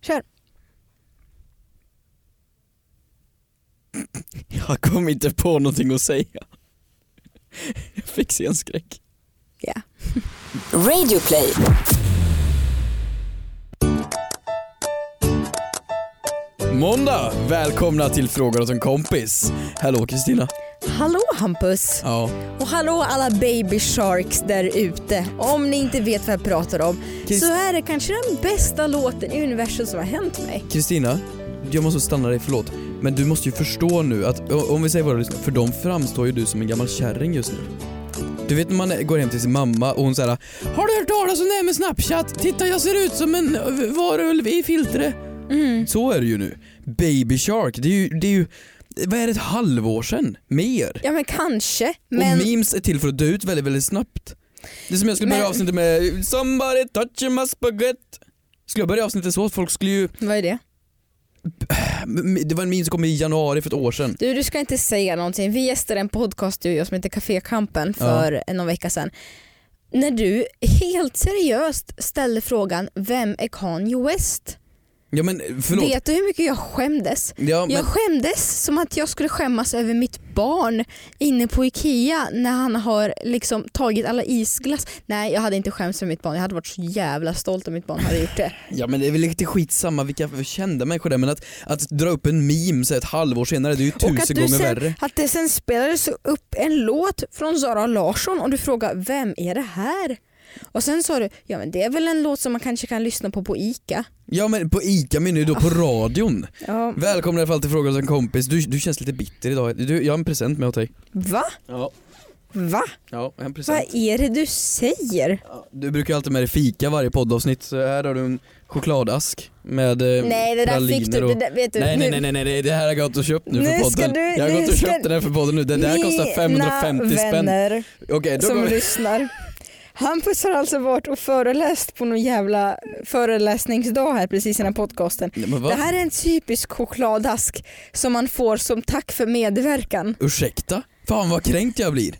Kör. Jag kom inte på någonting att säga. Jag fick scenskräck. Ja. Radioplay. Måndag! Välkomna till Frågar åt en kompis. Hallå Kristina. Hallå Hampus! Ja. Och hallå alla baby sharks där ute. Om ni inte vet vad jag pratar om Krist- så här är kanske den bästa låten i universum som har hänt mig. Kristina, jag måste stanna dig, förlåt. Men du måste ju förstå nu att, o- om vi säger våra lyssnare, för de framstår ju du som en gammal kärring just nu. Du vet när man går hem till sin mamma och hon säger Har du hört talas om det här med snapchat? Titta jag ser ut som en ö, varulv i filtre. Mm. Så är det ju nu. Baby shark, det är ju, det är ju vad är det, ett halvår sedan? Mer? Ja men kanske. Men Och memes är till för att dö ut väldigt, väldigt snabbt. Det är som jag skulle börja Men- avsnittet med Somebody touch my spaghetti. Skulle jag börja avsnittet så, folk skulle ju vad är det? Äh, M- m- Det var en meme som kom i januari för ett år sedan. Du, du ska inte säga någonting. Vi gästade en podcaststudio som heter Café Kampen för någon vecka sedan. När du helt seriöst ställde frågan vem är Kanye West? Ja men förlåt. Vet du hur mycket jag skämdes? Ja, men, Jag skämdes som att jag skulle skämmas över mitt barn inne på Ikea när han har liksom tagit alla isglass. Nej jag hade inte skämts för mitt barn, jag hade varit så jävla stolt om mitt barn hade gjort det. ja men det är väl lite skitsamma vilka för kända människor det är men att, att dra upp en meme så här ett halvår senare det är ju Och att, tusen du gånger sen, värre. att det sen spelades upp en låt från Zara Larsson och du frågar vem är det här? Och sen sa du, ja men det är väl en låt som man kanske kan lyssna på på ICA. Ja men på ICA menar du då på Ah. radion. Ja. Välkommen i alla fall till Fråga hos en kompis. Du, du känns lite bitter idag. Du, jag har en present med åt dig. Va? Ja. Va? Ja, en present. Vad är det du säger? Du brukar ju alltid med dig fika varje poddavsnitt så här har du en chokladask med eh, Nej det där praliner fick du, det och... där, vet du. Nej, nu- nej nej nej nej det- det här har jag gått och köpt nu, Nu för ska podden. du- jag har nu gått och ska- köpt den här för podden nu. Det där kostar 550 Mina spänn. vänner Okej, då går som vi. lyssnar. Hampus har alltså varit och föreläst på någon jävla föreläsningsdag här precis innan podcasten. Ja, men Det vad? här är en typisk chokladask som man får som tack för medverkan. Ursäkta? Fan vad kränkt jag blir.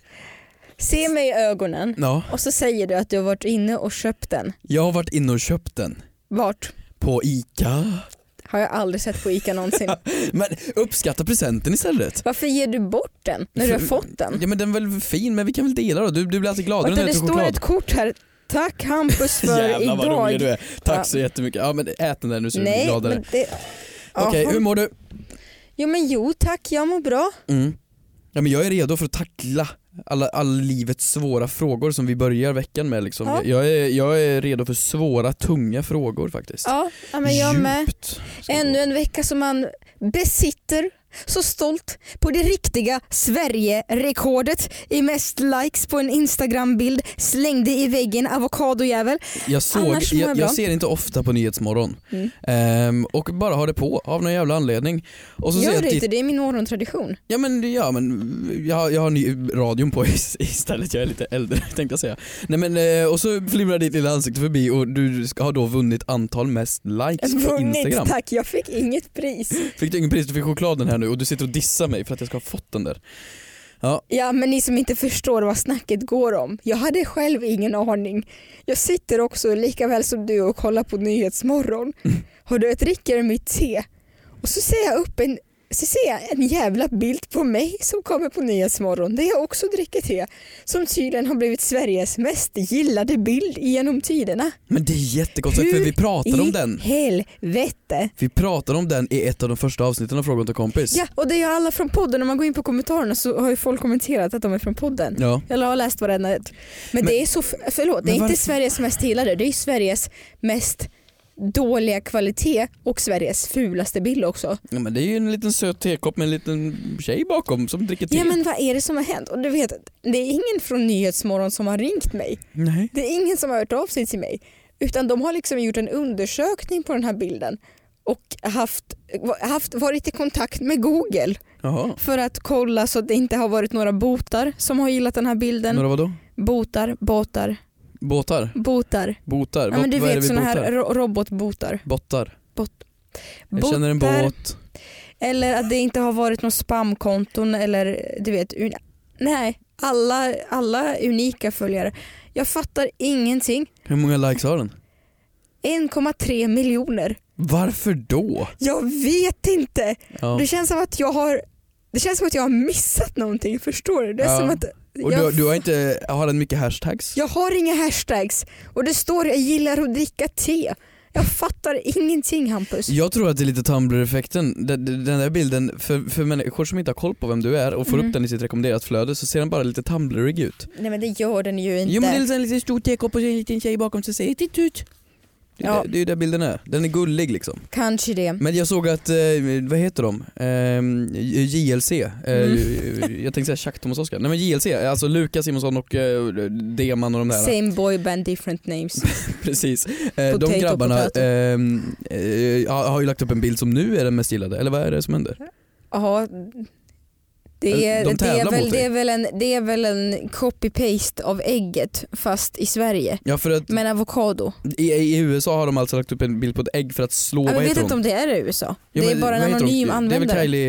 Se mig i ögonen Ja, och så säger du att du har varit inne och köpt den. jag har varit inne och köpt den. Vart? På ICA. Har jag aldrig sett på ICA någonsin. Men uppskatta presenten istället. Varför ger du bort den när du har fått den? Ja men den är väl fin, men vi kan väl dela då? Du, du blir alltid gladare Vänta, när det du äter står choklad. ett kort här. Tack Hampus för Jävlar vad rolig du idag. är. Tack så jättemycket. Ja men ät den där nu så du blir Nej, gladare. men det... Okej, um- Jaha. hur mår du? Jo men jo tack, jag mår bra. Mm. Ja, men jag är redo för att tackla alla, alla livets svåra frågor som vi börjar veckan med. Liksom. Ja. Jag, är, jag är redo för svåra, tunga frågor faktiskt. Ja, ja men jag med. Djupt. ska det Ännu en vecka som man besitter så stolt på det riktiga Sverige-rekordet i mest likes på en Instagram-bild slängde i väggen avokadojävel. Jag, såg, Annars mår jag jag, bra. jag ser inte ofta på Nyhetsmorgon Mm. Ehm, och bara har det på av någon jävla anledning. Och så ser Gör jag det titt- inte, det är min morgontradition. ja, men, ja, men, jag, jag har ny, radion på is- istället, jag är lite äldre tänkte jag säga. Nej, men, eh, och så flimrar ditt lilla ansikte förbi och du ska, har då vunnit antal mest likes på Instagram. tack, jag fick inget pris. Fick du ingen pris, du fick chokladen här nu och du sitter och dissar mig för att jag ska ha fått den där. Ja men ni som inte förstår vad snacket går om. Jag hade själv ingen aning. Jag sitter också lika väl som du och kollar på Nyhetsmorgon. Mm. Har du ett dricker mitt te? Och så ser jag upp en så ser jag en jävla bild på mig som kommer på Nyhetsmorgon där jag också dricker te. Som tydligen har blivit Sveriges mest gillade bild genom tiderna. Men det är jättekonstigt för Hur vi pratade om den. I helvete! Vi pratade om den i ett av de första avsnitten av Frågan till kompis. Ja och det är alla från podden. Om man går in på kommentarerna så har ju folk kommenterat att de är från podden. Ja. Jag har läst varenda ett. Men, det är så, förlåt, det är Men inte varför- Sveriges mest gillade, det är Sveriges mest dåliga kvalitet och Sveriges fulaste bild också. Ja, men det är ju en liten söt tekopp med en liten tjej bakom som dricker te. Ja men vad är det som har hänt? Och du vet, det är ingen från Nyhetsmorgon som har ringt mig. Nej. Det är ingen som har hört av sig till mig. Utan de har liksom gjort en undersökning på den här bilden och haft, haft, varit i kontakt med Google Jaha. för att kolla så att det inte har varit några botar som har gillat den här bilden. Några vadå? Botar, båtar, Båtar? botar. Botar? Ja, men du vad vet är det vi såna botar? här ro- robotbotar. Bottar. Jag botar känner en båt. Eller att det inte har varit någon spamkonton eller du vet. Un- nej, alla, alla unika följare. Jag fattar ingenting. Hur många likes har den? 1,3 miljoner. Varför då? Jag vet inte. Ja. Det känns som att jag har det känns som att jag har missat någonting, förstår du? Det är Ja. som att Och jag, du, du har inte, har den mycket hashtags? jag har inga hashtags och det står jag gillar att dricka te. Jag fattar ingenting Hampus. Jag tror att det är lite Tumblr-effekten. Den, den den där bilden, för, för människor som inte har koll på vem du är och får Mm. upp den i sitt rekommenderat flöde så ser den bara lite Tumblrig ut. Nej men det gör den ju inte. Jo men det är liksom en liten stor tekopp och så är det en liten tjej bakom som säger titt ut. Det är Ja. ju där bilden är. Den är gullig liksom. Kanske det. Men jag såg att, eh, vad heter de? Ehm, J- JLC. Eh, Mm. Jag tänkte säga Chuck, Thomas Oskar. Nej men JLC, alltså Lukas Simonsson och eh, Deman och de där. Same boy band different names. Precis. Eh, Potato, de grabbarna potato. ehm, eh, har har ju lagt upp en bild som nu är den mest gillade, eller vad är det som händer? Ja, det är, De det, är tävlar väl, mot det, dig. är väl en, det är väl en copy-paste av ägget fast i Sverige. Ja för att Men avokado. i, i USA har de alltså lagt upp en bild på ett ägg för att slå, Jag vad vet heter inte hon? om det är i USA. Ja, det är men bara en vad heter hon? anonym Det är användare. väl Kylie...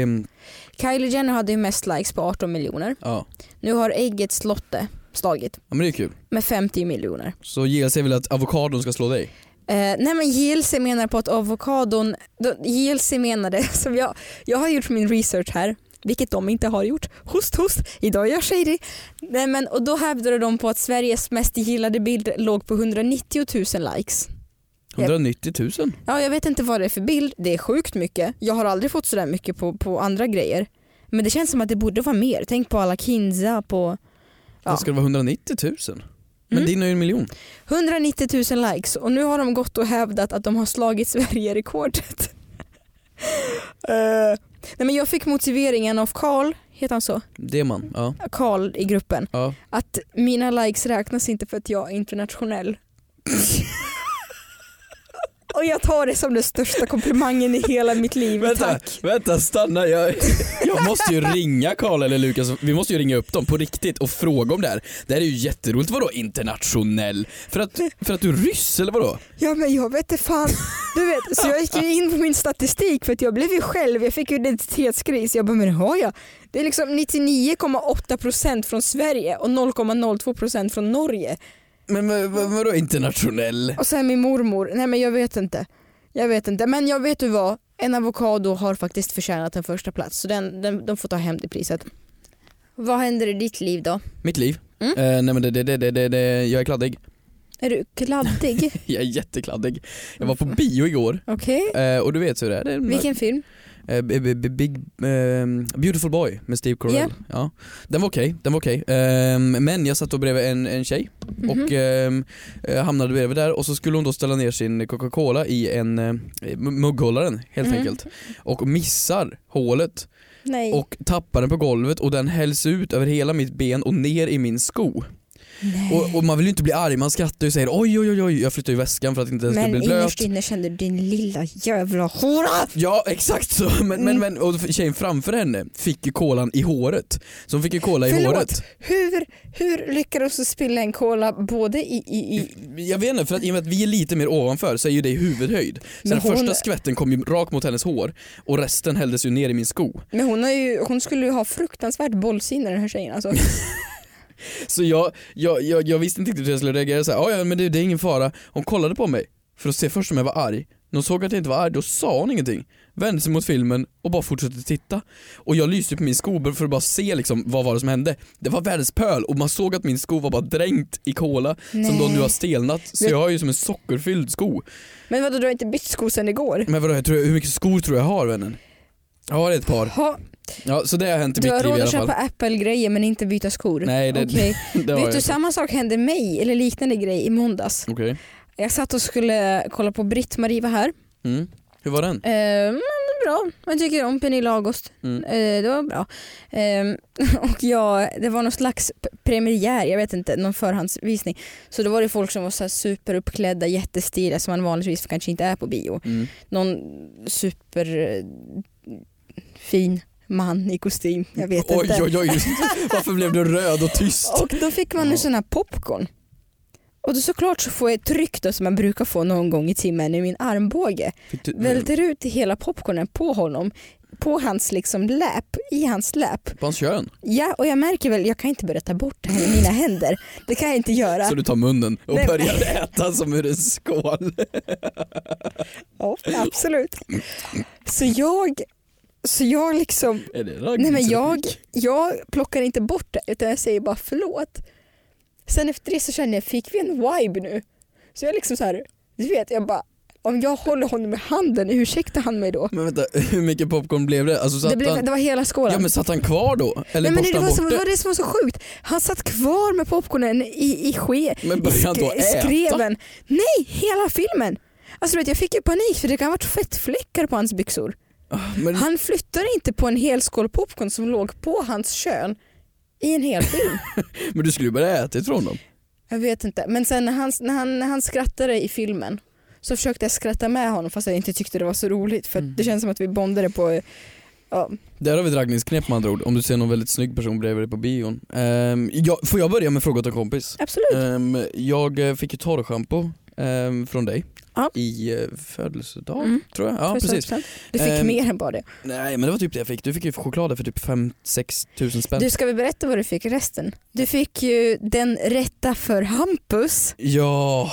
Kylie, mm, Jenner hade ju mest likes på 18 miljoner. ja. Nu har äggets Lotte slagit ja men det är kul. med 50 miljoner. Så JLC vill att avokadon ska slå dig? Eh, nej men JLC menar på att avokadon, då- JLC menade, som Alltså, jag, jag har gjort min research här, vilket de inte har gjort. Host host, idag är jag shady. Nej, men, och då hävdade de på att Sveriges mest gillade bild låg på 190 000 likes. 190 000? Ja, jag vet inte vad det är för bild, det är sjukt mycket. Jag har aldrig fått sådär mycket på, på andra grejer. Men det känns som att det borde vara mer. Tänk på alla Kinza på Ja. Ja. Ska det vara 190 000? Men Mm. din är ju en miljon. 190 000 likes och nu har de gått och hävdat att de har slagit Sverige-rekordet. Eh, nej men jag fick motiveringen av Karl, heter han så? Det är man. Ja. Karl i gruppen. ja. Att mina likes räknas inte för att jag är internationell. och jag tar det som den största komplimangen i hela mitt liv. Vänta, Tack. vänta, stanna. Jag, jag måste ju ringa Karl eller Lukas. Vi måste ju ringa upp dem på riktigt och fråga om det här. Det här är ju jätteroligt. Vadå internationell? För att, för att du är ryss eller vadå? Ja men jag vet inte fan. Du vet, så jag gick ju in på min statistik för att jag blev ju själv, jag fick ju identitetskris. Jag bara, men har jag? Det är liksom 99,8% från Sverige och 0,02% från Norge. Men vad- vad- vadå internationell? Och sen min mormor, nej men jag vet inte. Jag vet inte, men jag vet du vad? En avokado har faktiskt förtjänat en första plats så den, den, de får ta hem det priset. Vad händer i ditt liv då? Mitt liv? Mm. Eh, nej men det, det, det, det, det, det, jag är kladdig. Är du kladdig? Jag är jättekladdig. Jag var på bio igår Okej. eh, och du vet hur det är. det är. Mm. Vilken film? Eh, b- b- b- Big, ehm, Beautiful Boy med Steve Carell. Ja. Ja. Den var okej, den var okej. Ehm, men jag satt då bredvid en, en tjej Mhm. och ehm, eh, hamnade bredvid där och så skulle hon då ställa ner sin Coca-Cola i en eh, m- mugghållaren helt Mhm. enkelt och missar hålet Nej. och tappar den på golvet och den hälls ut över hela mitt ben och ner i min sko. nej. Och, och man vill ju inte bli arg, man skrattar ju och säger oj oj oj oj, jag flyttar ju väskan för att inte den skulle Men bli blöt. innerst inne kände du din lilla jävla hora. Ja exakt så, men, Mm. men, men och tjejen framför henne fick ju kolan i håret. Så hon fick ju kola i Förlåt. håret. Hur, hur lyckades du spilla en cola både i... i, i Jag vet inte, för att, i och med att vi är lite mer ovanför så är ju det i huvudhöjd. Så Men den hon- första skvätten kom ju rakt mot hennes hår och resten hälldes ju ner i min sko. men hon, har ju, hon skulle ju ha fruktansvärt bollsinne den här tjejen alltså. Så jag, jag, jag, jag visste inte riktigt hur jag skulle reagera så här, "Ja, ja men det, det är ingen fara. Hon kollade på mig för att se först om jag var arg. När hon såg att jag inte var arg då sa hon ingenting. Vände sig mot filmen och bara fortsatte titta. Och jag lyste på min sko för att bara se liksom, vad var det som hände. Det var världens pöl och man såg att min sko var bara dränkt i cola som då Nej. nu har stelnat. Så Men- jag har ju som en sockerfylld sko. Men vadå du har inte bytt sko sen igår? Men vadå, jag tror, hur mycket skor tror jag jag har vännen? Jag har ett par. Ha, Ja, så det har hänt i du har mitt liv råd i att alla köpa fall. Apple-grejer men inte byta skor? Nej, det- Okej. Det har Vet jag. du samma sak hände mig eller liknande grej i måndags. Okej. Jag satt och skulle kolla på Britt-Marie var här. Mm. Hur var den? Eh, men bra, jag tycker om Pernilla August. Mm. Eh, det var bra. Ehm, och jag, det var någon slags p- premiär, jag vet inte, någon förhandsvisning. Så då var det folk som var så här superuppklädda, jättestiliga som man vanligtvis kanske inte är på bio. Mm. Någon superfin man i kostym, jag vet oj, inte. oj, oj, varför blev du röd och tyst? Och då fick man en Ja. sån här popcorn. Och då såklart så får jag ett tryck då, som man brukar få någon gång i timmen i min armbåge Fick du, välter ut hela popcornen på honom på hans liksom läp, i hans läp. På hans kön. Ja, och jag märker väl, jag kan inte berätta bort det här i mina händer. Det kan jag inte göra. Så du tar munnen och Nej, men- börjar äta som ur en skål. Ja, absolut. Så jag, så jag liksom, Är det nej men raggningsreplik? jag, jag plockar inte bort det utan jag säger bara förlåt. Sen efter det så känner jag, fick vi en vibe nu? Så jag liksom så här, du vet, jag bara, om jag håller honom i handen, ursäktar han mig då? Men vänta, hur mycket popcorn blev det? Alltså satt Det, blev, han... det var hela skålen. Ja men satt han kvar då? Eller Nej, men det, borstade var han som, bort det det? var det som var så sjukt. Han satt kvar med popcornen i, i ske, Men började han då i skre- äta? skreven. Nej, hela filmen. Alltså du vet, jag fick ju panik för det kan ha varit fettfläckar på hans byxor. Men, Han flyttade inte på en hel skål popcorn som låg på hans kön i en hel film. men du skulle ju börja äta ifrån dem. Jag vet inte. Men sen när han, när, han, när han skrattade i filmen så försökte jag skratta med honom fast jag inte tyckte det var så roligt för Mm. det känns som att vi bondade på ja. Där har vi ett raggningsknep med andra ord, om du ser någon väldigt snygg person bredvid dig på bion. Ehm, jag, får jag börja med fråga åt en kompis? Absolut. Ehm, jag eh, fick ju torrschampo ehm, från dig Ja. i eh, födelsedag Mm. tror jag. Eh, Ja, precis. 100%. Du fick Ehm, mer än bara det. Nej men det var typ det jag fick, du fick ju choklad där för typ 5-6 tusen spänn. Du ska vi berätta vad du fick i resten? Du fick ju den rätta för Hampus. Ja,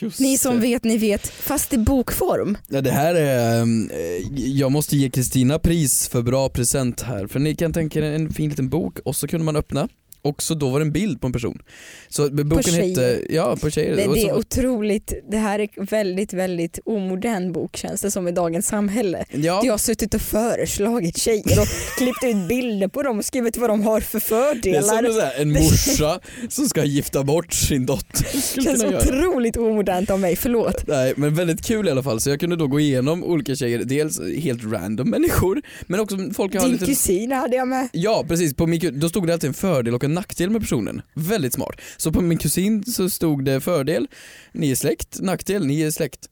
just Ni som det. vet, ni vet. Fast i bokform. Ja, det här är, ehm, eh, jag måste ge Kristina pris för bra present här. För ni kan tänka er en fin liten bok och så kunde man öppna och så då var det en bild på en person. Så b- boken tjejer. hette, ja på tjejer. Det, det Och är så, otroligt. Det här är väldigt, väldigt omodern bok känns det som i dagens samhälle. ja, Jag har suttit och föreslagit tjejer och klippt ut bilder på dem och skrivit vad de har för det är som fördelar. en, sån här, en morsa som ska gifta bort sin dotter. Det Skulle känns kunna göra. otroligt omodernt av mig, förlåt. Nej men väldigt kul i alla fall, så jag kunde då gå igenom olika tjejer, dels helt random människor, men också folk jag har Din lite kusin hade jag med. Ja precis, på min, ku- då stod det alltid en fördel och en nackdel med personen. Väldigt smart. Så på min kusin så stod det fördel, ni är släkt, nackdel, ni är släkt.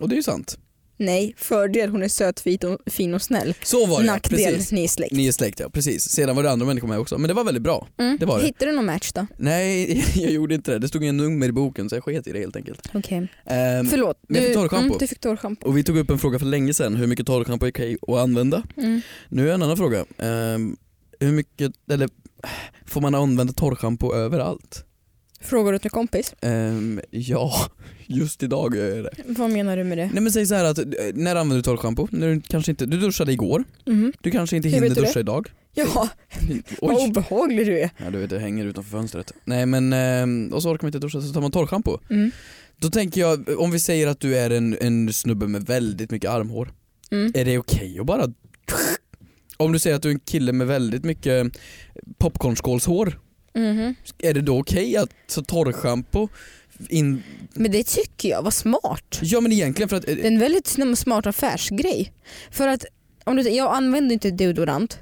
Och det är ju sant. Nej, fördel hon är söt, vit och, fin och snäll. Så var det ja, Nackdel, precis. ni är släkt. Ni är släkt ja, precis. Sedan var det andra människor med också, men det var väldigt bra. Mm. det var det. Hittade du någon match då? Nej, jag gjorde inte det. Det stod en nummer i boken så jag sket i det helt enkelt. Okej. Ehm, Förlåt, men jag fick torrschampo. du fick torrschampo. och vi tog upp en fråga för länge sedan, hur mycket torrschampo är okej att använda? Mm. Nu är en annan fråga. Ehm, hur mycket, eller får man använda torrschampo överallt? Frågar åt en kompis. Ehm, ja, just idag gör jag det. Vad menar du med det? Nej men säg så här att, eh, när använder du torrschampo? När du kanske inte, du duschade igår, Mm. du kanske inte Hur hinner vet du duscha idag. Ja, vad Oj! obehaglig du är. Ja, du vet det hänger utanför fönstret. Nej men, ehm, och så orkar man inte duscha så tar man torrschampo. Mm. Då tänker jag, om vi säger att du är en, en snubbe med väldigt mycket armhår, Mm. är det okej att bara om du säger att du är en kille med väldigt mycket popcornskålshår, Mhm. är det då okej att ta torrschampo in... Men det tycker jag var smart. Ja men egentligen för att... eh, Det är en väldigt sn- smart affärsgrej. För att om du, jag använder inte deodorant.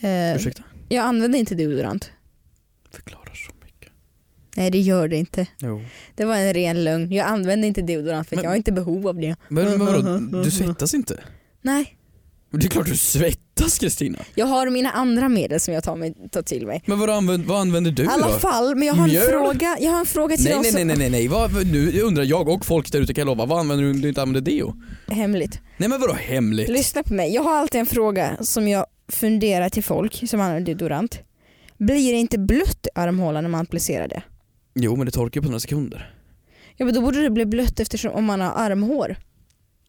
Eh, Ursäkta? jag använder inte deodorant. förklarar så mycket. Nej det gör det inte. Det var en ren lögn. Jag använder inte deodorant för Men- jag har inte behov av det. Men, men vadå, du svettas inte? Nej. Men Det är klart du svettas Kristina. Jag har mina andra medel som jag tar, mig, tar till mig. Men vad använder, vad använder du I alla då? fall, men jag har, en Mjöl? fråga, jag har en fråga till Nej dem nej nej nej nej, nej. Vad, nu undrar jag och folk där ute kan jag lova, vad använder du om du inte använder deo? som... Hemligt. Nej men vadå hemligt? Lyssna på mig, jag har alltid en fråga som jag funderar till folk som använder deodorant. Blir det inte blött i armhålan när man applicerar det? Jo men det torkar ju på några sekunder. Ja men då borde det bli blött eftersom om man har armhår.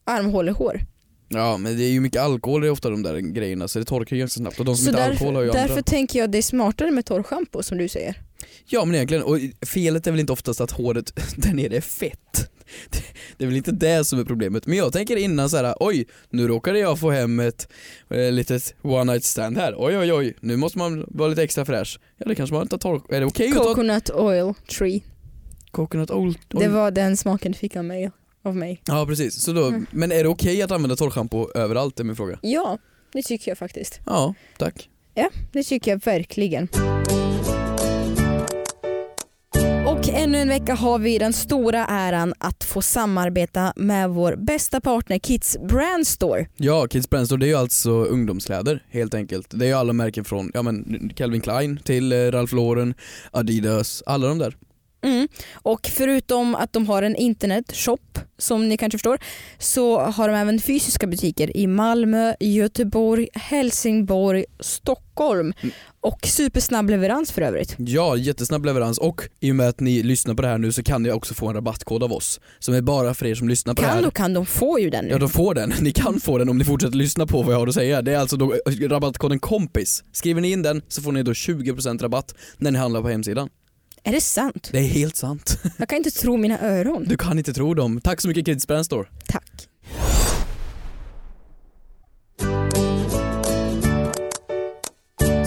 Armhålehår. Ja men det är ju mycket alkohol i ofta de där grejerna så det torkar ju ganska snabbt och de som Så inte har alkohol har därför, ju därför andra. tänker jag att det är smartare med torrschampo som du säger. Ja men egentligen, och felet är väl inte oftast att håret där nere är fett. Det- Det är väl inte det som är problemet. Men jag tänker innan så här: oj, nu råkade jag få hem ett eh, litet one night stand här. Oj oj oj, nu måste man vara lite extra fräsch. Ja det kanske man inte tar, är det okej att ta Coconut oil tree. coconut oil? Det var den smaken du fick av mig. Av mig. Ja precis, så då, Mm. men är det okej att använda torrschampo överallt är min fråga. Ja, det tycker jag faktiskt. Ja, tack. Det tycker jag verkligen. Och ännu en vecka har vi den stora äran att få samarbeta med vår bästa partner Kids Brand Store. Ja, Kids Brand Store det är ju alltså ungdomskläder helt enkelt. Det är ju alla märken från ja, men Calvin Klein till eh, Ralph Lauren, Adidas, alla de där. Mm. Och förutom att de har en internetshop som ni kanske förstår så har de även fysiska butiker i Malmö, Göteborg, Helsingborg, Stockholm Mm. och supersnabb leverans för övrigt. Ja, jättesnabb leverans och i och med att ni lyssnar på det här nu så kan ni också få en rabattkod av oss som är bara för er som lyssnar på det Kan här. och kan, de får ju den nu. Ja, de får den. Ni kan få den om ni fortsätter lyssna på vad jag har att säga. Det är alltså då rabattkoden KOMPIS. Skriver ni in den så får ni då 20% rabatt när ni handlar på hemsidan. Är det sant? Det är helt sant. Jag kan inte tro mina öron. Du kan inte tro dem. Tack så mycket Kids Brand Store. Tack.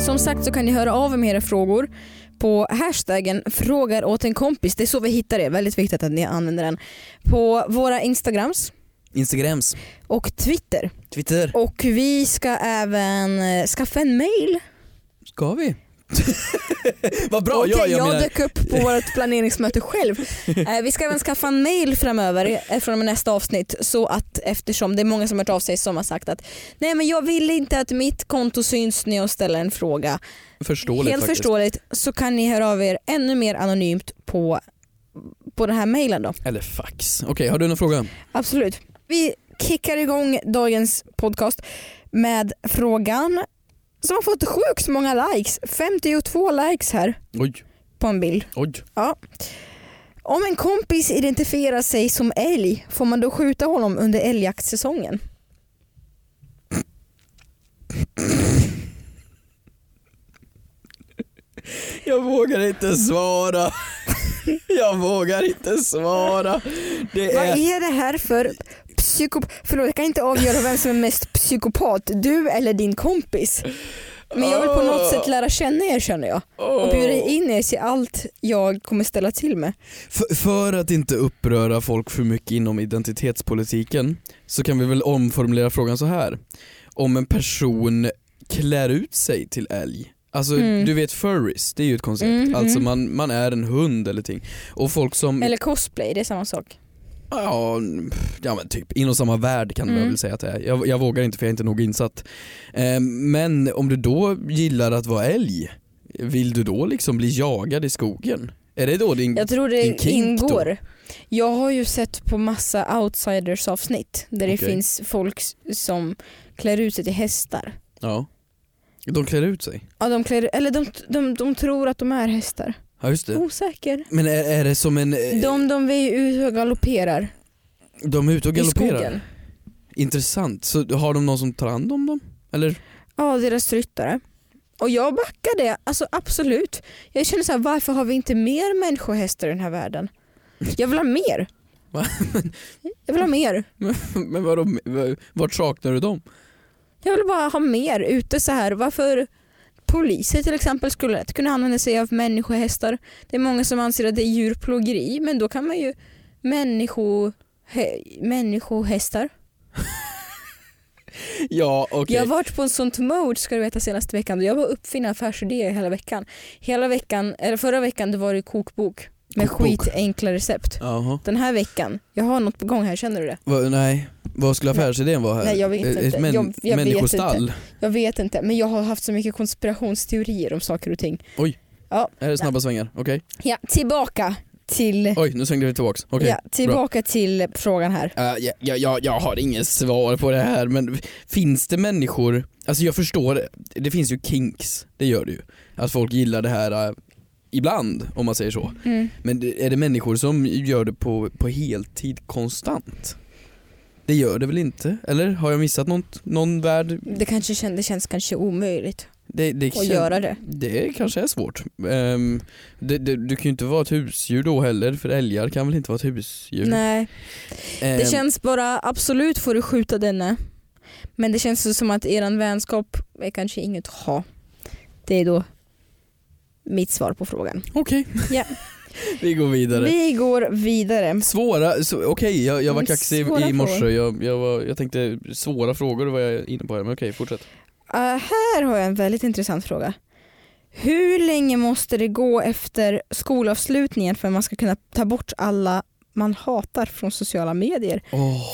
Som sagt så kan ni höra av er med era frågor på hashtaggen frågar åt en kompis. Det är så vi hittar er. Väldigt viktigt att ni använder den. På våra Instagrams Instagrams, och Twitter. Twitter. Och vi ska även eh, skaffa en mail. Ska vi? vad bra, Okej, ja, jag, menar... dök upp på vårt planeringsmöte själv. Eh, vi ska även skafaffa en mail framöver eh, från och med nästa avsnitt så att eftersom det är många som har hört av sig som har sagt att nej men jag vill inte att mitt konto syns när jag ställer en fråga. Förståeligt Helt faktiskt. förståeligt så kan ni höra av er ännu mer anonymt på, på den här mailen då. Eller fax. Okej, har du någon fråga? Mm. Absolut. Vi kickar igång dagens podcast med frågan som har fått sjukt många likes. 52 likes här Oj, på en bild. oj. Om en kompis identifierar sig som älg, får man då skjuta honom under älgjaktssäsongen? Jag vågar inte svara. jag vågar inte svara. Det Vad är... är det här för psykop... Förlåt, jag kan inte avgöra vem som är mest psykopat, du eller din kompis. Men jag vill på något sätt lära känna er känner jag och bjuda in er till allt jag kommer ställa till med. För, för att inte uppröra folk för mycket inom identitetspolitiken så kan vi väl omformulera frågan så här. Om en person klär ut sig till älg. Alltså Mm. du vet furries, det är ju ett koncept. Mm, Alltså mm. man, man är en hund eller ting. Och folk som, Eller cosplay, det är samma sak. ja, pff, ja men typ inom samma värld kan man Mm. väl säga att det är. Jag, jag vågar inte för jag är inte nog insatt. Eh, men om du då gillar att vara älg, vill du då liksom bli jagad i skogen? Är det då din... Jag tror Din det kink då? ingår. Jag har ju sett på massa outsiders avsnitt där det Okej. finns folk s- som klär ut sig till hästar. Ja. De klär ut sig. Ja, de klär, eller de, de, de tror att de är hästar. Ja just det. Osäker. Men är, är det som en... eh, De, de är ju ute och galopperar de är ute och i galopperar? skogen. Intressant. Så har de någon som tar hand om dem? Eller? Ja, deras ryttare. Och jag backar det, alltså absolut. Jag känner så här, varför har vi inte mer människohästar i den här världen? Jag vill ha mer. Va? Jag vill ha mer. Men vadå, v- vart saknar du dem? Jag vill bara ha mer ute så här. Varför poliser till exempel skulle lätt kunna använda sig av människohästar. Det är många som anser att det är djurplågeri men då kan man ju människo, hä, människohästar. Ja okej. Jag har varit på en sånt mode ska du veta senaste veckan. Jag var uppfinna affärsidéer hela veckan. Hela veckan, eller förra veckan det var det kokbok med Kokbok. skitenkla recept. Jaha. Den här veckan, jag har något på gång här, känner du det? Va, nej. Vad skulle affärsidén vara här? Nej, jag vet Ett- inte. Ett män, Jag- jag vet människostall? Jag vet inte men jag har haft så mycket konspirationsteorier om saker och ting. Är det snabba svängar? Okej. Ja, tillbaka till, Oj, nu svängde vi tillbaks. Okej. ja, tillbaka till frågan här. Eh, ja, ja, ja, jag har inget svar på det här men finns det människor, alltså jag förstår, det finns ju kinks, det gör det ju. Att folk gillar det här eh, ibland om man säger så. Mm. Men det- är det människor som gör det på, på heltid konstant? Det gör det väl inte? Eller har jag missat något, någon värld? Det, kanske, kän- det känns kanske omöjligt Det, det att kän- göra det. Det kanske är svårt. Ehm, det, det, du kan ju inte vara ett husdjur då heller för älgar kan väl inte vara ett husdjur? Nej. Ehm, Det känns bara, absolut får du skjuta denne. Men det känns ju som att eran vänskap är kanske inget att ha. Det är då mitt svar på frågan. Okej, Ja. vi går vidare. Vi går vidare. Svåra, så- okej jag, jag var Mm, kaxig svåra i morse, frågor. jag, jag, var, jag tänkte svåra frågor var jag inne på här, men okej fortsätt. Uh, här har jag en väldigt intressant fråga. Hur länge måste det gå efter skolavslutningen för att man ska kunna ta bort alla man hatar från sociala medier?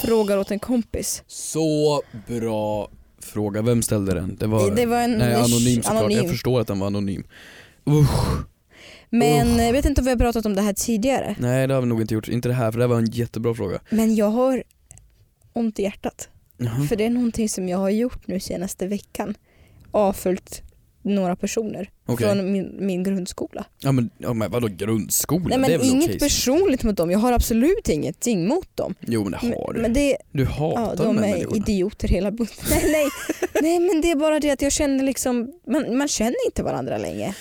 Frågar åt en kompis. Så bra fråga, vem ställde den? Det var, Det var en nej, anonym såklart, anonym. jag förstår att den var anonym. Men jag vet inte om vi har pratat om det här tidigare. Nej det har vi nog inte gjort. Inte det här för det här var en jättebra fråga. Men jag har ont i hjärtat. Jaha. För det är någonting som jag har gjort nu senaste veckan. Avföljt några personer Okej. från min, min grundskola. Ja men, ja, men vadå grundskola? Nej men det är väl inget okej? personligt mot dem. Jag har absolut ingenting mot dem. Jo men det har Men, du. men det, du hatar ja, de de här är människorna. idioter hela bunten. Nej, nej. nej men det är bara det att jag känner liksom, man, man känner inte varandra längre.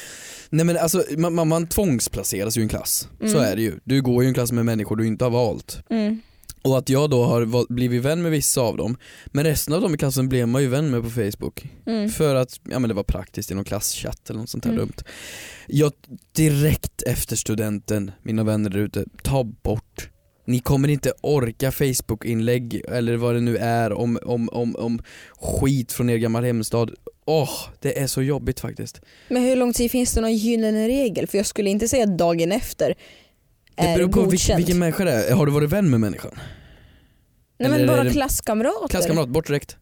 Nej men alltså man, man, man tvångsplaceras ju i en klass. Så Mm. är det ju. Du går ju i en klass med människor du inte har valt. Mm. Och att jag då har val- blivit vän med vissa av dem. Men resten av dem i klassen blev man ju vän med på Facebook. Mm. För att ja, men det var praktiskt i någon klasschatt eller något sånt här Mm. dumt. Jag direkt efter studenten, mina vänner där ute, ta bort. Ni kommer inte orka Facebook-inlägg eller vad det nu är om, om, om, om skit från er gamla hemstad. Åh, det är så jobbigt faktiskt. Men hur lång tid finns det någon gyllene regel? För jag skulle inte säga att dagen efter är Det beror på vilken, Eh, godkänt. vilken människa det är. Har du varit vän med människan? Nej men eller är bara det- klasskamrater. Klasskamrat, bort direkt.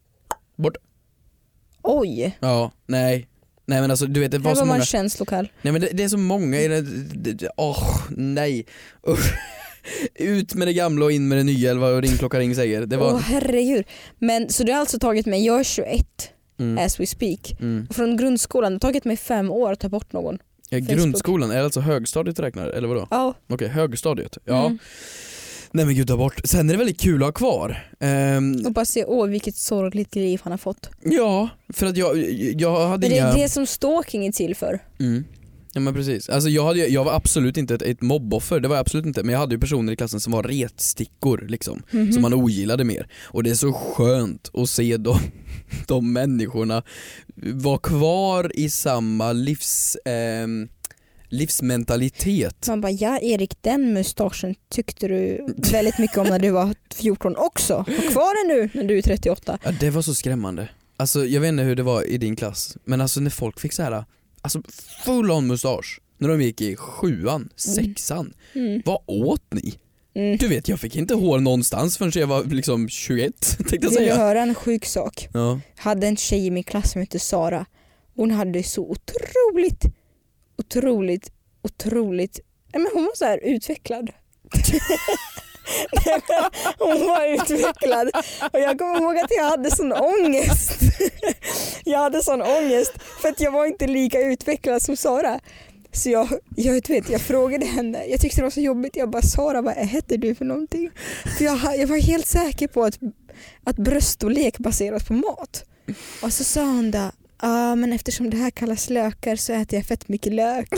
Oj, Ja, nej. Nej men alltså du vet det här var så var många, man känslokall. nej men det, det är så många i den, det- det- åh nej. Usch. Ut med det gamla och in med det nya eller vad ring klocka ring säger. Det Åh var, herregud. Men, så det har alltså tagit mig, jag är 21 mm, as we speak. mm. Från grundskolan, det har tagit mig fem år att ta bort någon. Ja, grundskolan, är det alltså högstadiet du räknar eller vadå? Ja. Okej, högstadiet. Ja. Mm. Nej men gud ta bort. Sen är det väldigt kul att ha kvar. Ehm, Och bara se, åh vilket sorgligt liv han har fått. ja, för att jag, jag hade Men det inga... är det som stalking är till för. Mm. Ja men precis. Alltså jag, hade, jag var absolut inte ett, ett mobboffer, det var jag absolut inte. Men jag hade ju personer i klassen som var retstickor liksom. Mhm. som man ogillade mer. Och det är så skönt att se de, de människorna vara kvar i samma livs, ehm, livsmentalitet. Man bara, ja Erik den mustaschen tyckte du väldigt mycket om när du var 14 också. Ha kvar den nu när du är 38. Ja, det var så skrämmande. Alltså jag vet inte hur det var i din klass, men alltså när folk fick så här, alltså full on mustasch när de gick i sjuan, sexan. Mm. Vad åt ni? Mm. Du vet jag fick inte hår någonstans förrän jag var liksom 21 tänkte jag Vill du säga. höra en sjuk sak? Ja. hade en tjej i min klass som hette Sara. Hon hade så otroligt, otroligt, otroligt, nej men hon var så här utvecklad. Nej, men hon var utvecklad och jag kommer ihåg att jag hade sån ångest. jag hade sån ångest för att jag var inte lika utvecklad som Sara. Så jag, jag, vet, vet, jag frågade henne, jag tyckte det var så jobbigt, jag bara Sara vad heter du för någonting? För jag, ha- jag var helt säker på att att bröststorlek baseras på mat. Och så sa hon då, ja men eftersom det här kallas lökar så äter jag fett mycket lök.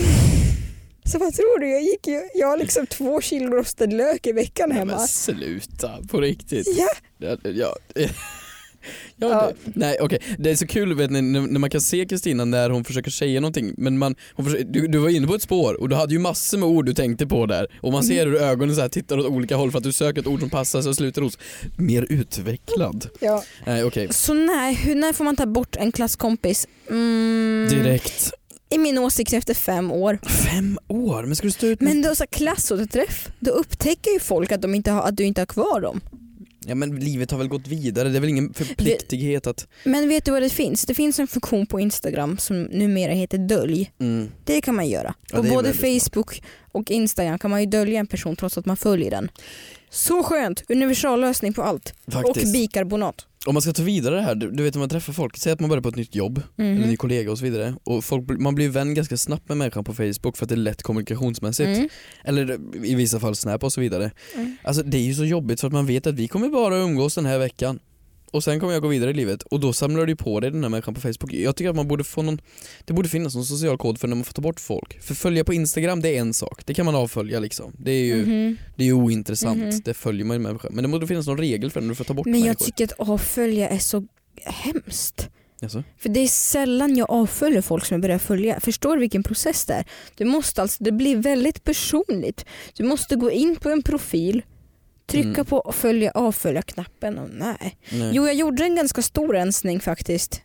Så vad tror du? Jag, gick ju, jag har liksom två kilo rostad lök i veckan Nej, men hemma. sluta, på riktigt. Ja, Ja, ja. Ja, Ja. Det, nej okej, det är så kul vet ni, när, när man kan se Kristina när hon försöker säga någonting men man, hon försöker, du, du var inne på ett spår och du hade ju massor med ord du tänkte på där och Mm. man ser hur ögonen så här tittar åt olika håll för att du söker ett ord som passar så slutar hos mer utvecklad. ja. Nej okej, Så nej, hur, när får man ta bort en klasskompis? Mm, direkt. I min åsikt efter fem år. Fem år, men ska du stå ut med? Men då så här klassåterträff, då upptäcker ju folk att, de inte har, att du inte har kvar dem. Ja men livet har väl gått vidare, det är väl ingen förpliktighet att... Men vet du vad det finns? Det finns en funktion på Instagram som numera heter dölj. Mm. Det kan man göra. Ja, på det är både väldigt Facebook och Instagram kan man ju dölja en person trots att man följer den. Så skönt! Universallösning på allt. Faktiskt. Och bikarbonat. Om man ska ta vidare det här, du, du vet när man träffar folk, säg att man börjar på ett nytt jobb Mhm. eller ny kollega och så vidare. Och folk, blir- man blir vän ganska snabbt med människan på Facebook för att det är lätt kommunikationsmässigt. Mm. Eller i vissa fall Snap och så vidare. Mm. Alltså det är ju så jobbigt för att man vet att vi kommer bara umgås den här veckan. Och sen kommer jag gå vidare i livet och då samlar du på dig den här människan på Facebook. Jag tycker att man borde få någon, det borde finnas någon social kod för när man får ta bort folk. För följa på Instagram det är en sak, det kan man avfölja liksom. Det är ju, Mhm. det är ju ointressant, Mhm. det följer man ju människor. Men det borde finnas någon regel för när du får ta bort Men jag människor. tycker att avfölja är så hemskt. Jaså? För det är sällan jag avföljer folk som jag börjar följa. Förstår du vilken process det är? Du måste alltså, det blir väldigt personligt. Du måste gå in på en profil, trycka Mm. på följa avfölja-knappen och nej. Nej. Jo, jag gjorde en ganska stor rensning faktiskt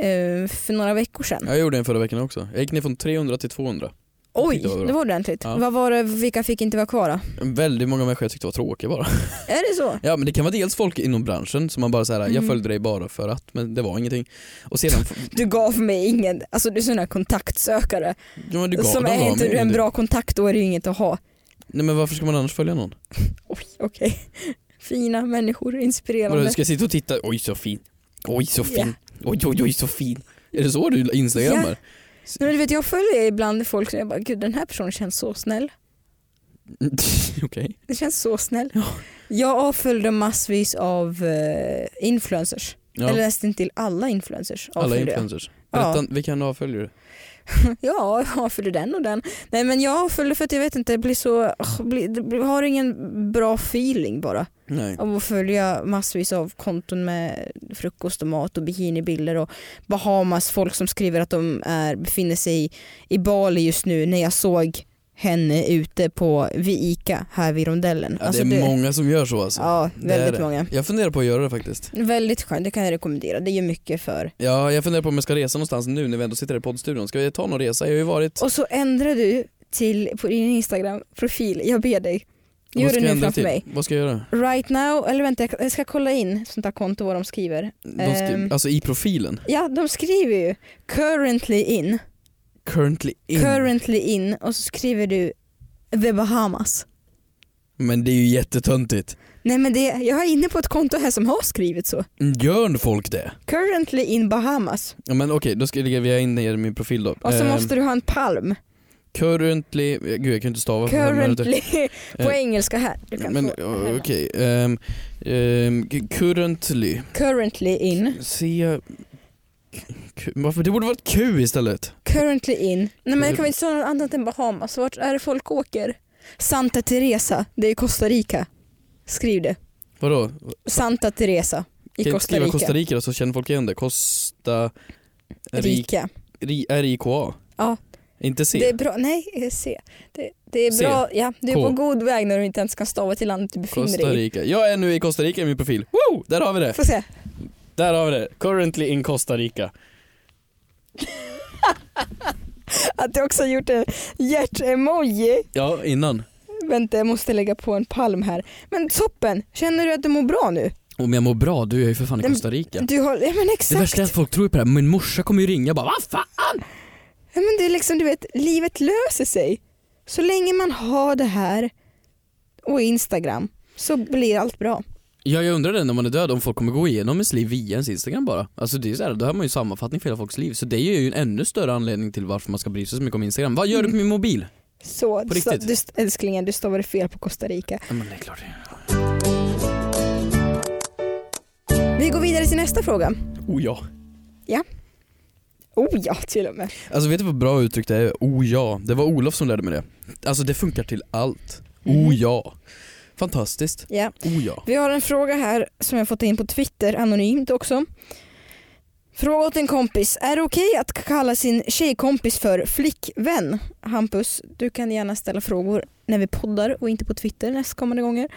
eh, för några veckor sedan. Jag gjorde en förra veckan också. Jag gick ner från 300 till 200. Oj, Tyckte det var bra. det var ordentligt. Ja. Vad var det, vilka fick inte vara kvar då? Väldigt många människor jag tyckte var tråkiga bara. Är det så? Ja men det kan vara dels folk inom branschen som man bara såhär, jag Mm. följde dig bara för att, men det var ingenting. Och sedan, Du gav mig ingen, alltså du är sån här kontaktsökare. ja, men du gav Som dem är av inte mig, du en du. bra kontakt då är det ju inget att ha. Nej men varför ska man annars följa någon? Oj, okej. Fina människor, Vadå, inspirerande. du ska sitta och titta, oj så fin, oj så fin, Ja. oj oj oj så fin. Är det så du instagrammar? Men du vet, jag följer ibland folk som jag bara, gud den här personen känns så snäll. Okej. Den känns så snäll. Ja. Jag avföljde massvis av eh, influencers. Ja, Eller nästan till alla influencers. alla avföljde jag. influencers. Ja. Berätta, vilka avföljer du? Ja, jag följde den och den. Nej men jag följde för att jag vet inte, det blir så, åh, blir, det blir, har ingen bra feeling bara. Nej. Av att följa massvis av konton med frukost och mat och bikinibilder och Bahamas, folk som skriver att de är, befinner sig i, i Bali just nu när jag såg henne ute på vid Ica här vid rondellen. Ja, Alltså, det är många som gör så alltså. Ja, Det är väldigt det. många. Jag funderar på att göra det faktiskt. Väldigt skönt, det kan jag rekommendera. Det gör mycket för Ja, jag funderar på om jag ska resa någonstans nu när vi ändå sitter här i poddstudion. Ska vi ta någon resa? Jag har ju varit... Och så ändrar du till på din Instagram-profil, jag ber dig. Vad Gör det ska jag nu ändra framför till? mig. Vad ska jag göra? Right now, eller vänta jag ska kolla in sånt där konto vad de skriver. De skri... Ehm. Alltså i profilen? Ja de skriver ju currently in, Currently in. currently in och så skriver du the Bahamas. Men det är ju jättetöntigt. Nej men det, jag är inne på ett konto här som har skrivit så. Mm, Gör folk det? Currently in Bahamas. Ja, men okej, då ska jag in i min profil då. Och så Ehm, måste du ha en palm. Currently... Gud jag kan inte stava. för fem minuter. Currently, på Eh, engelska här. Du kan Men få den här ja, då. okej. ehm, ehm, currently. Currently in, Se... Q- Varför? Det borde vara ett Q istället. currently in. Nej men jag Eh, kan väl inte säga något annat än Bahamas. Vart är det folk åker? Santa Teresa, det är i Costa Rica. Skriv det. Vadå? Santa Teresa i kan jag inte Costa skriva Rica. Costa Rica då så känner folk igen det? Costa... Rik- Rika. Ri- R-I-K-A? Ja. Inte C? Det är bra, nej eh, se. Det, det är Se. bra, ja du är K. på god väg när du inte ens kan stava till landet du befinner Costa dig i. Rica. Jag är nu i Costa Rica i min profil. Woo! Där har vi det! Får se. Där har vi det. Currently in Costa Rica. Att du också har gjort en hjärt-emoji. Ja, innan. Vänta jag måste lägga på en palm här. Men toppen, känner du att du mår bra nu? Om jag mår bra, du är ju för fan i Den- Costa Rica. Du har, ja men Det exakt. värsta är att folk tror ju på det här, min morsa kommer ju ringa bara vad fan? Ja, men det är liksom du vet, livet löser sig. Så länge man har det här och Instagram så blir allt bra. Ja, jag undrar det när man är död om folk kommer gå igenom ens liv via ens Instagram bara. Alltså det är så här, då har man ju sammanfattning för hela folks liv. Så det är ju en ännu större anledning till varför man ska bry sig så mycket om Instagram. Vad Mm. gör du på min mobil? Så På du, sta- riktigt? du, st- älsklingen, du stavade fel på Costa Rica. Ja, men det är klart det är. Vi går vidare till nästa fråga. Oh ja. Oh ja, till och med. Alltså vet du vad bra uttryck det är? Oh ja. Det var Olof som lärde mig det. Alltså det funkar till allt. Mm. Oh ja. Fantastiskt. Ja. Oh ja. Vi har en fråga här som jag fått in på Twitter, anonymt också. Fråga åt en kompis. Är det okej att kalla sin tjejkompis för flickvän? Hampus, du kan gärna ställa frågor när vi poddar och inte på Twitter nästkommande gånger.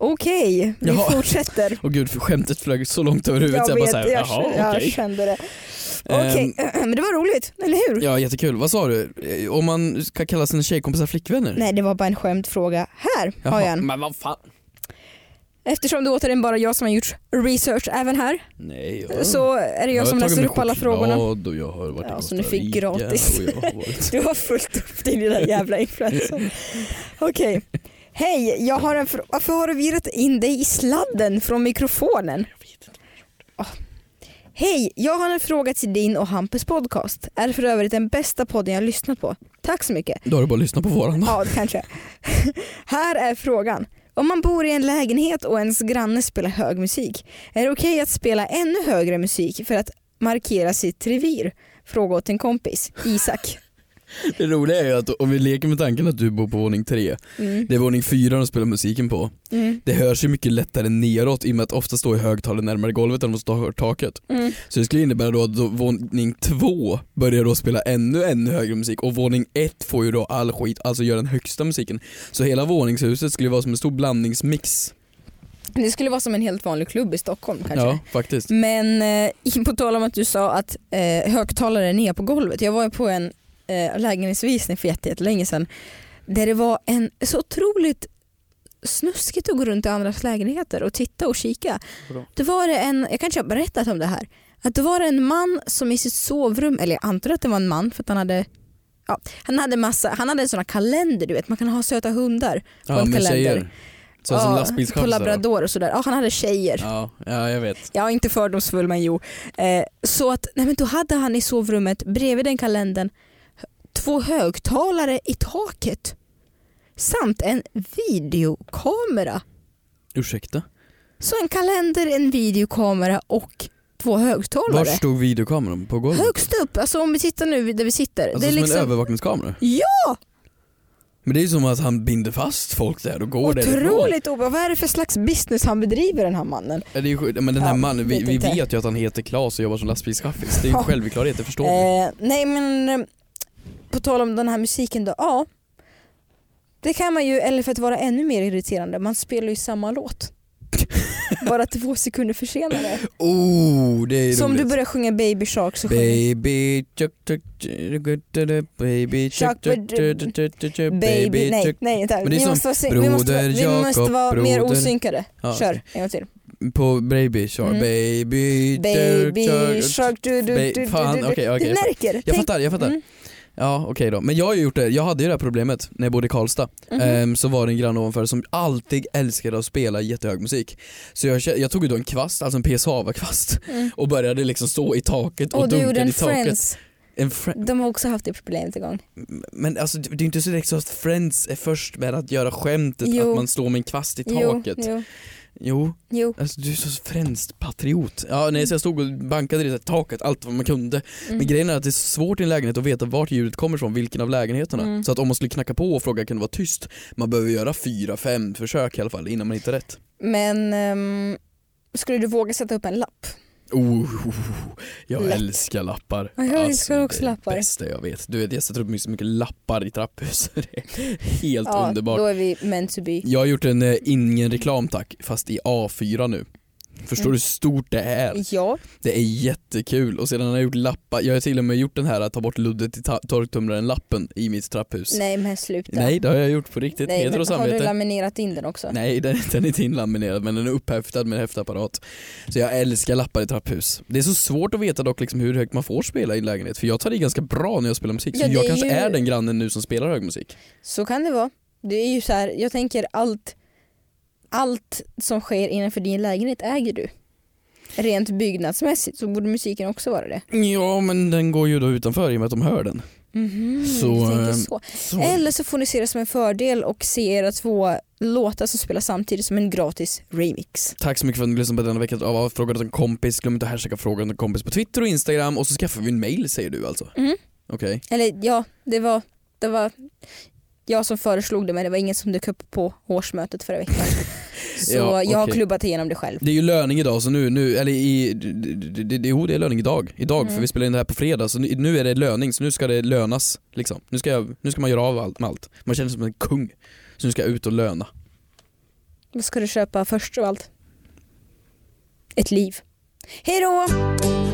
Okej, vi Jaha. fortsätter. Och gud, skämtet flög så långt över huvudet så jag bara såhär, jag, jaha jag okej. kände det. Ehm, Okej, men det var roligt, eller hur? Ja, jättekul. Vad sa du? Eh, Om man ska kalla sina tjejkompisar flickvänner? Nej, det var bara en skämtfråga. Här har jag Jaha, en. men vad fan. Eftersom det återigen bara jag som har gjort research även här Nej. ja. så är det jag, som läser upp alla frågorna. Och jag har varit Ja, i som Costa du fick Rica gratis. Och jag har varit... Du har fullt upp din lilla jävla influencer. Okej. Hej, jag har en fr- varför har du virat in dig i sladden från mikrofonen? Åh. Hej, jag har en fråga till din och Hampus podcast. Är för övrigt den bästa podden jag har lyssnat på. Tack så mycket. Då har du bara lyssnat på våran. Ja, det kanske. Här är frågan. Om man bor i en lägenhet och ens granne spelar hög musik, är det okej att spela ännu högre musik för att markera sitt revir? Fråga åt en kompis, Isak. Det roliga är ju att om vi leker med tanken att du bor på våning tre, Mm. det är våning fyra de spelar musiken på. Mm. Det hörs ju mycket lättare neråt i och med att ofta står ju högtalaren närmare golvet än de står taket. Mm. Så det skulle innebära då att då våning två börjar då spela ännu, ännu högre musik och våning ett får ju då all skit, alltså gör den högsta musiken. Så hela våningshuset skulle vara som en stor blandningsmix. Det skulle vara som en helt vanlig klubb i Stockholm kanske. Ja, faktiskt. Men eh, på tal om att du sa att eh, högtalare är ner på golvet. Jag var ju på en eh, lägenhetsvisning för jätte- jättelänge sedan. Där det var en så otroligt snuskigt att gå runt i andras lägenheter och titta och kika. Vadå? Då var det en, jag kanske har berättat om det här, att det var en man som i sitt sovrum, eller jag antar att det var en man för att han hade Ja, han hade massa, han hade en sån här kalender du vet, man kan ha söta hundar. Ja, med kalender. tjejer. Så som På lastbilschaufförer. labrador och sådär. Ja, han hade tjejer. Ja, ja, jag vet. Ja, inte fördomsfull men jo. Eh, så att, nej men då hade han i sovrummet bredvid den kalendern två högtalare i taket. Samt en videokamera. Ursäkta? Så en kalender, en videokamera och två Var högtalare. stod videokameran? På golvet? Högst upp, alltså om vi tittar nu där vi sitter. Alltså det är som en liksom övervakningskamera? Ja! Men det är ju som att han binder fast folk där och går därifrån. otroligt obehagligt. Vad är det för slags business han bedriver den här mannen? Ja, det är ju sjukt. Men den här Ja, mannen, vi, vet vi inte. vet ju att han heter Claes och jobbar som lastbilschaffis. Det är ju en Ja. självklarhet, det förstår vi. Eh, nej men eh, på tal om den här musiken då, ja. Det kan man ju, eller för att vara ännu mer irriterande, man spelar ju samma låt. Bara två sekunder försenade. Oh, det är Så om du roligt. börjar sjunga Baby Shark så sjunger Baby chuck chuck chuck baby chuck Chuck, chuck chuck chuck chuck chuck, Baby, nej, chuck nej vänta. Men det är Vi som måste vara, syn- vi måste, vara- Broder vi måste Jakob, vara mer broder. osynkade. Ja, Kör, en gång till. På baby shark, Mm. baby Baby chuck, chuck. Shark, du, du, Ba- du, du, fan, du, du. okej, okej, Du jag fa- märker. Jag Tänk- fattar, jag fattar. Mm. Ja okej då, men jag har ju gjort det, jag hade ju det här problemet när jag bodde i Karlstad. Mhm. Ehm, så var det en granne ovanför som alltid älskade att spela jättehög musik. Så jag, kä- jag tog ju då en kvast, alltså en PS-Hava-kvast Mm. och började liksom stå i taket Eh, och, Och du gjorde dunkade en i taket. Friends. En fri- De har också haft det problemet igång. men alltså det det är ju inte så direkt så att Friends är först med att göra skämtet Jo. att man står med en kvast i Jo, taket. jo, jo. jo. Alltså du är så fränst patriot. Ja, nej, så jag stod och bankade i det där taket allt vad man kunde. Mm. Men grejen är att det är så svårt i en lägenhet att veta vart ljudet kommer ifrån, vilken av lägenheterna. Mm. Så att om man skulle knacka på och fråga kan det vara tyst, man behöver göra fyra, fem försök i alla fall innan man hittar rätt. Men ehm, skulle du våga sätta upp en lapp? Oh, jag Lätt. älskar lappar. Alltså, Ja, jag älskar också det är lappar. Det bästa jag vet. Du vet jag sätter upp så mycket lappar i trapphuset. Det är Helt underbart. då är vi meant to be. Jag har gjort en eh, ingen reklam tack, fast i A4 nu. Förstår du hur stort det är? Ja, Det är jättekul och sedan har jag gjort lappar, jag har till och med gjort den här att ta bort luddet i ta- torktumlaren lappen i mitt trapphus. nej men sluta. Nej, det har jag gjort på riktigt, Nej, heder men och har du samvete. laminerat in den också? Nej, den, den är inte inlaminerad men den är upphäftad med en häftapparat. Så jag älskar lappar i trapphus. Det är så svårt att veta dock liksom hur högt man får spela i en lägenhet för jag tar i ganska bra när jag spelar musik så Ja, det jag är kanske ju- är den grannen nu som spelar hög musik. Så kan det vara. Det är ju så här, jag tänker allt, allt som sker innanför din lägenhet äger du. Rent byggnadsmässigt så borde musiken också vara det. Ja men den går ju då utanför i och med att de hör den. Mhm, Så, du tänker ehm, så. Så. Eller så får ni se det som en fördel och se era två låtar som spelas samtidigt som en gratis remix. Tack så mycket för att ni lyssnade på denna veckan av Frågan åt en kompis. Glöm inte att hashtagga frågan åt en kompis på Twitter och Instagram och så skaffar vi en mail säger du alltså? Mm. Okej. Eller ja, det var, det var jag som föreslog det men det var ingen som dök upp på årsmötet förra veckan. Så Ja, jag har okej. klubbat igenom det själv. Det är ju löning idag så nu, nu eller i, det, det, det, jo det är löning idag, idag för Mm. vi spelar in det här på fredag så nu, nu är det löning så nu ska det lönas liksom. Nu ska, jag, nu ska man göra av allt med allt. Man känner sig som en kung. Så nu ska jag ut och löna. Vad ska du köpa först av allt? Ett liv. Hej då!